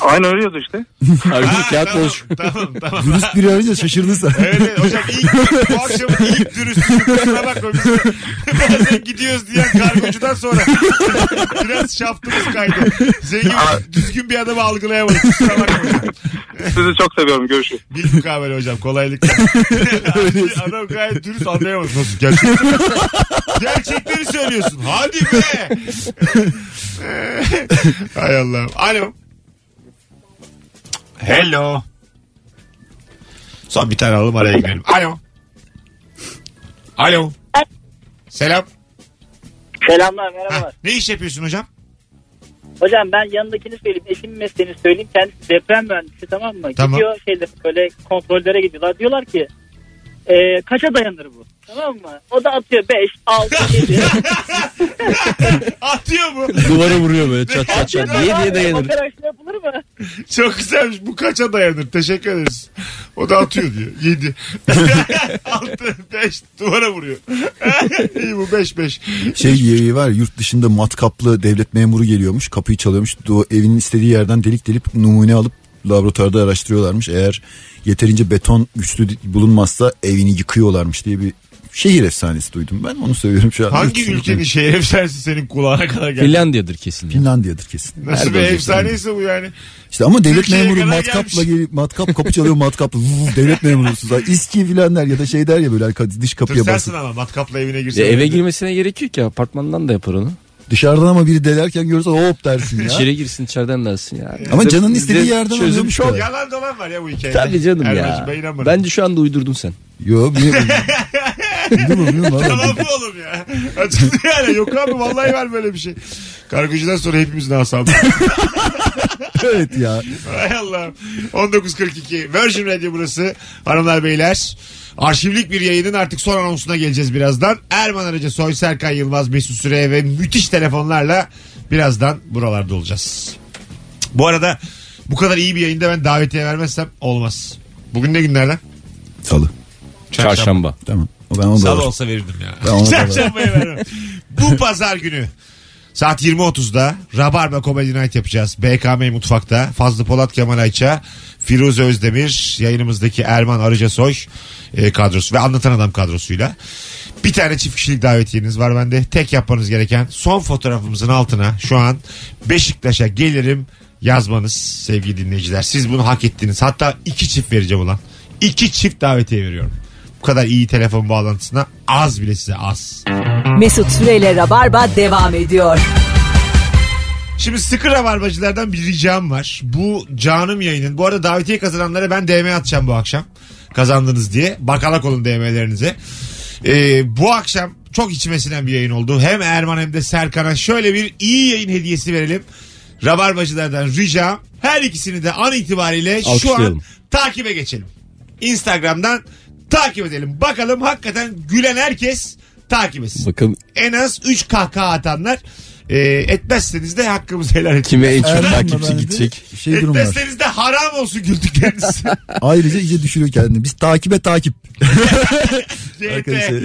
S7: Aynen öyle yazıyor işte.
S4: Halbuki
S2: Ha,
S4: kağıt
S2: tamam,
S4: boş.
S2: Tamam tamam.
S5: Dürüst biri arayınca şaşırdın sen.
S2: Evet, evet hocam ilk bu akşam ilk dürüstlüğüne bakma biz de bazen gidiyoruz diyen kargocudan sonra biraz şaftımız kaydı. Zengin düzgün bir adamı algılayamadık. Kusura bakma hocam.
S7: Sizi çok seviyorum görüşürüz.
S2: Bil mukavele hocam kolaylıkla. Abi, Adam gayet dürüst anlayamaz nasıl gerçek. Gerçekleri söylüyorsun. Hadi be. Hay Allah'ım. Alo. Hello. Son bir tane alalım araya girelim. Alo. Alo. Selam.
S10: Selamlar
S2: Ha,
S10: merhabalar.
S2: ne iş yapıyorsun hocam?
S10: Hocam ben yanındakini söyleyeyim. Eşimin mesleğini söyleyeyim. Kendisi deprem mühendisi tamam mı?
S2: Tamam.
S10: Gidiyor şeyde böyle kontrollere gidiyorlar. Diyorlar ki e, kaça dayanır bu? Tamam mı? O da atıyor 5, 6, 7.
S2: Atıyor mu?
S4: Duvara vuruyor böyle çat çat çat. Niye diye dayanır.
S10: Operasyon yapılır mı?
S2: Çok güzelmiş. Bu kaça dayanır? Teşekkür ederiz. O da atıyor diyor. 7. 6 5 duvara vuruyor. İyi bu 5 5.
S5: Şey yeri var yurt dışında matkaplı devlet memuru geliyormuş kapıyı çalıyormuş Du- evinin istediği yerden delik delip numune alıp laboratuvarda araştırıyorlarmış. Eğer yeterince beton güçlü bulunmazsa evini yıkıyorlarmış diye bir şehir efsanesi duydum ben onu söylüyorum şu an.
S2: Hangi ülkenin şehir efsanesi senin kulağına kadar geldi?
S4: Finlandiya'dır kesin. ya.
S5: Finlandiya'dır kesin.
S2: Nasıl bir
S4: Nerede
S2: efsaneyse bu yani.
S5: İşte ama devlet
S2: Türkiye'ye
S5: memuru
S2: kadar
S5: matkapla
S2: gelmiş.
S5: gelip matkap kapı çalıyor matkapla vuv, devlet memurusunuz. Ha, İSKİ filan der ya da şey der ya böyle arka- dış kapıya
S2: Tırsarsın
S5: basın.
S2: ama matkapla evine girsen.
S4: Ya eve girmesine gerek yok ya apartmandan da yapar onu.
S5: Dışarıdan ama biri delerken görürsen hop dersin ya.
S4: İçeri girsin içeriden dersin ya.
S5: Ama
S4: Bize-
S5: canının
S4: bize
S5: istediği yerden
S4: çözüm
S5: alıyormuş
S4: çok.
S5: o.
S2: Yalan dolan var ya bu hikayede.
S4: Tabii canım
S2: Erman'cığım,
S4: ya.
S2: Ben inanmadım.
S4: Bence şu anda uydurdun sen.
S5: Yo niye Bilmiyorum bilmiyorum abi.
S2: Yalan bu oğlum ya. Açıldı yani. Yok abi vallahi var böyle bir şey. Kargocudan sonra hepimizin asabı.
S5: evet ya.
S2: Hay Allah'ım. 19.42 Virgin Radio burası. Hanımlar beyler. Arşivlik bir yayının artık son anonsuna geleceğiz birazdan. Erman Arıca, Soy Serkan Yılmaz, Mesut Süre ve müthiş telefonlarla birazdan buralarda olacağız. Bu arada bu kadar iyi bir yayında ben davetiye vermezsem olmaz. Bugün ne günlerden?
S5: Salı.
S4: Çarşamba.
S5: Tamam. O ben onu da
S2: Salı
S5: alırım.
S2: olsa verirdim ya.
S5: Ben ona da
S2: Çarşambaya vermem. Bu pazar günü saat 20.30'da Rabarba Comedy Night yapacağız. BKM Mutfak'ta Fazlı Polat Kemal Ayça, Firuze Özdemir, yayınımızdaki Erman Arıcasoy e, kadrosu ve Anlatan Adam kadrosuyla. Bir tane çift kişilik davetiyeniz var bende. Tek yapmanız gereken son fotoğrafımızın altına şu an Beşiktaş'a gelirim yazmanız sevgili dinleyiciler. Siz bunu hak ettiniz. Hatta iki çift vereceğim ulan. İki çift davetiye veriyorum. Bu kadar iyi telefon bağlantısına az bile size az.
S1: Mesut Süreyle Rabarba devam ediyor.
S2: Şimdi sıkı rabarbacılardan bir ricam var. Bu canım yayının. Bu arada davetiye kazananlara ben DM atacağım bu akşam. Kazandınız diye. Bakalak olun DM'lerinize. Ee, bu akşam çok içime sinen bir yayın oldu. Hem Erman hem de Serkan'a şöyle bir iyi yayın hediyesi verelim. Rabarbacılardan ricam. Her ikisini de an itibariyle şu an
S4: Alkışlayalım.
S2: takibe geçelim. Instagram'dan takip edelim. Bakalım hakikaten gülen herkes takip etsin.
S4: Bakın
S2: En az 3 kahkaha atanlar. Ee, etmezseniz de hakkımızı helal edin.
S4: kime en çok
S5: Erman'la
S4: takipçi
S5: bende
S4: gidecek.
S5: Şey durum var.
S2: Etmezseniz de haram olsun güldükleriniz.
S5: Ayrıca iyice düşürüyor kendini. Biz takibe takip.
S2: CT.
S5: Arkadaşlar.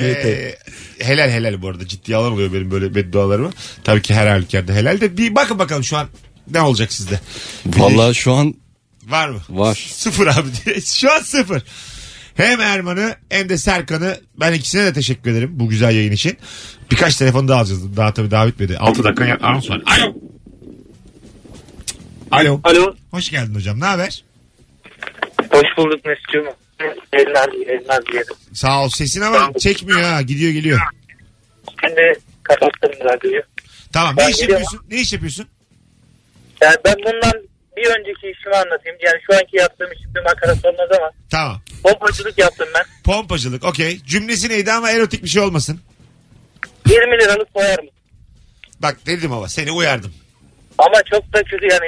S2: Ee, helal helal bu arada ciddiye alan oluyor benim böyle beddualarımı. Tabii ki her halükarda helal de bir bakın bakalım şu an ne olacak sizde.
S4: Vallahi şu an
S2: Var mı?
S4: Var.
S2: Sıfır abi diye. Şu an sıfır. Hem Erman'ı hem de Serkan'ı ben ikisine de teşekkür ederim bu güzel yayın için. Birkaç telefon daha alacağız. Daha tabii daha bitmedi. 6 dakika ya- anons var. Alo. Alo.
S7: Alo.
S2: Hoş geldin hocam. Ne haber?
S7: Hoş bulduk Mesut'cum. Eller eller diyelim.
S2: Sağ ol. Sesin ama çekmiyor ha. Gidiyor geliyor.
S7: Şimdi kapattım radyoyu.
S2: Tamam. Ne
S7: Ben
S2: iş
S7: gidiyorum.
S2: yapıyorsun? Ne iş yapıyorsun?
S7: Yani ben bundan bir önceki işimi anlatayım. Yani şu anki yaptığım iş bir makara sormaz ama
S2: Tamam.
S7: pompacılık yaptım ben.
S2: Pompacılık. Okey. Cümlesi neydi ama erotik bir şey olmasın.
S7: 20 liralık koyar mı?
S2: Bak dedim ama seni uyardım.
S7: Ama çok da kötü yani.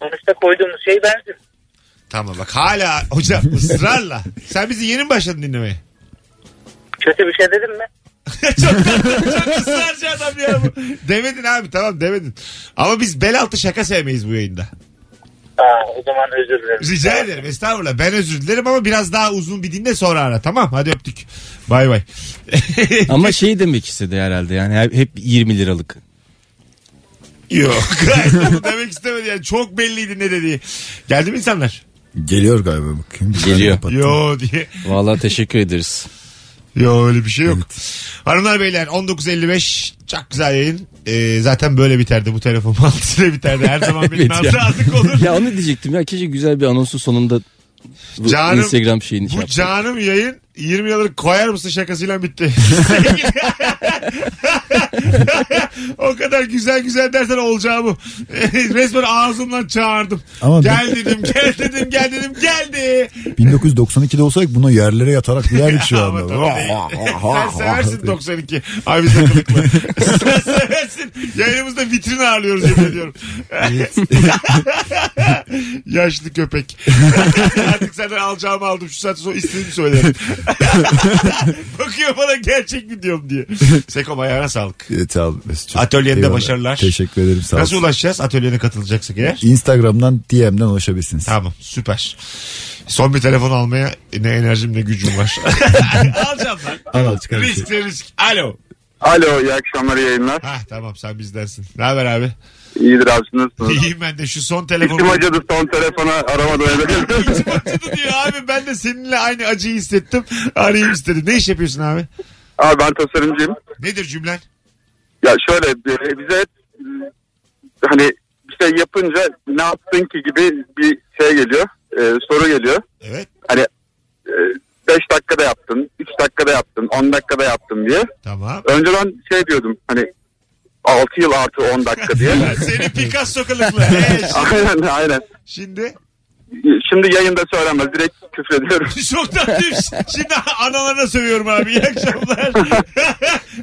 S7: Sonuçta koyduğumuz şey bensin.
S2: Tamam bak hala hocam ısrarla. Sen bizi yeni mi başladın dinlemeye?
S7: Kötü bir şey dedim mi?
S2: çok, çok ısrarcı adam ya bu. Demedin abi tamam demedin. Ama biz bel altı şaka sevmeyiz bu yayında.
S7: Aa, o zaman özür dilerim.
S2: Rica ederim estağfurullah. Ben özür dilerim ama biraz daha uzun bir dinle sonra ara tamam. Hadi öptük. Bay bay.
S4: Ama şey demek istedi herhalde yani hep- hep 20 liralık.
S2: Yok. gayet bunu demek istemedi yani. Çok belliydi ne dediği. Geldi mi insanlar?
S5: Geliyor galiba bakayım. Bir tane
S4: Geliyor.
S5: kapattım.
S2: Yo diye.
S4: Vallahi teşekkür ederiz.
S2: Yo öyle bir şey yok. Hanımlar beyler 19.55 çok güzel yayın. Ee, zaten böyle biterdi bu telefon altısıyla biterdi. Her zaman benim
S4: Evet ya.
S2: hazırlık olur.
S4: Ya onu diyecektim ya keşke güzel bir anonsun sonunda bu
S2: Canım,
S4: Instagram şeyini şey
S2: Bu
S4: yapsak.
S2: canım yayın 20 yıllık koyar mısın şakasıyla bitti. o kadar güzel güzel dersen olacağı bu. Resmen ağzımdan çağırdım.
S5: Ama
S2: gel dedim, gel dedim, gel dedim, geldi.
S5: 1992'de olsaydık buna yerlere yatarak yerdik şu
S2: Ama
S5: anda.
S2: tabii değil. Sen seversin 92. Abi bize kılıklı. Sen seversin. Yayınımızda vitrin ağırlıyoruz yemin ediyorum. Yaşlı köpek. Artık senden alacağımı aldım. Şu saatte sonra istediğimi söylerim. Bakıyor bana gerçek mi diyorum diye. Sekom ayağına sağlık.
S5: Evet, sağ ol Mesut'cum.
S2: Atölyende
S5: Eyvallah.
S2: başarılar.
S5: Teşekkür ederim sağ ol.
S2: Nasıl ulaşacağız? Atölyene katılacaksak eğer.
S5: Instagram'dan DM'den ulaşabilirsiniz.
S2: Tamam süper. Son bir telefon almaya ne enerjim ne gücüm var. Alacağım lan.
S5: Al, çıkar bir şey.
S2: Risk de risk. Alo.
S3: Alo iyi akşamlar iyi yayınlar.
S2: Ha tamam sen bizdensin. Ne haber abi?
S3: İyidir abi siz nasılsınız?
S2: İyiyim ben de şu son
S3: İçim
S2: telefonu.
S3: acıdı son telefona aramadan evvel.
S2: İçim acıdı diyor abi ben de seninle aynı acıyı hissettim. Arayayım istedim. Ne iş yapıyorsun abi?
S3: abi ben tasarımcıyım.
S2: Nedir cümlen?
S3: Ya şöyle e, bize hep, e, hani bir şey yapınca ne yaptın ki gibi bir şey geliyor. e, soru geliyor.
S2: Evet
S3: Hani 5 dakikada yaptın, 3 dakikada yaptın, 10 dakikada yaptın diye.
S2: tamam.
S3: Önceden şey diyordum hani
S11: 6 yıl artı 10 dakika diye.
S2: Seni Picasso kılıklı. Ee,
S11: aynen aynen.
S2: Şimdi?
S11: Şimdi yayında söylemez. Direkt küfrediyorum.
S2: Çok tatlıyım. Şimdi analarına sövüyorum abi. İyi akşamlar.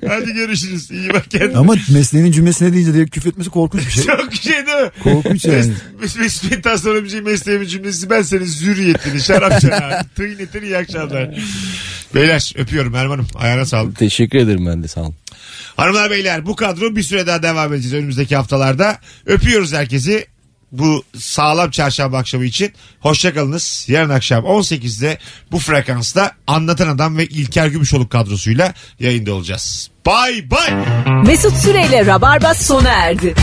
S2: Hadi görüşürüz. İyi bak kendine.
S5: Ama mesleğinin cümlesine deyince direkt küfretmesi korkunç bir şey.
S2: Çok şey değil mi?
S5: Korkunç yani.
S2: Mes- Mesut Bey'in tasarlayabileceği şey mesleğimin cümlesi ben senin zürriyetini, şarapçan abi. Tıynetini iyi akşamlar. Beyler öpüyorum Erman'ım. Ayağına sağlık.
S4: Teşekkür ederim ben de sağ olun.
S2: Hanımlar beyler bu kadro bir süre daha devam edeceğiz önümüzdeki haftalarda. Öpüyoruz herkesi bu sağlam çarşamba akşamı için. Hoşçakalınız. Yarın akşam 18'de bu frekansta Anlatan Adam ve İlker Gümüşoluk kadrosuyla yayında olacağız. Bay bay.
S1: Mesut Süreyle Rabarba sona erdi.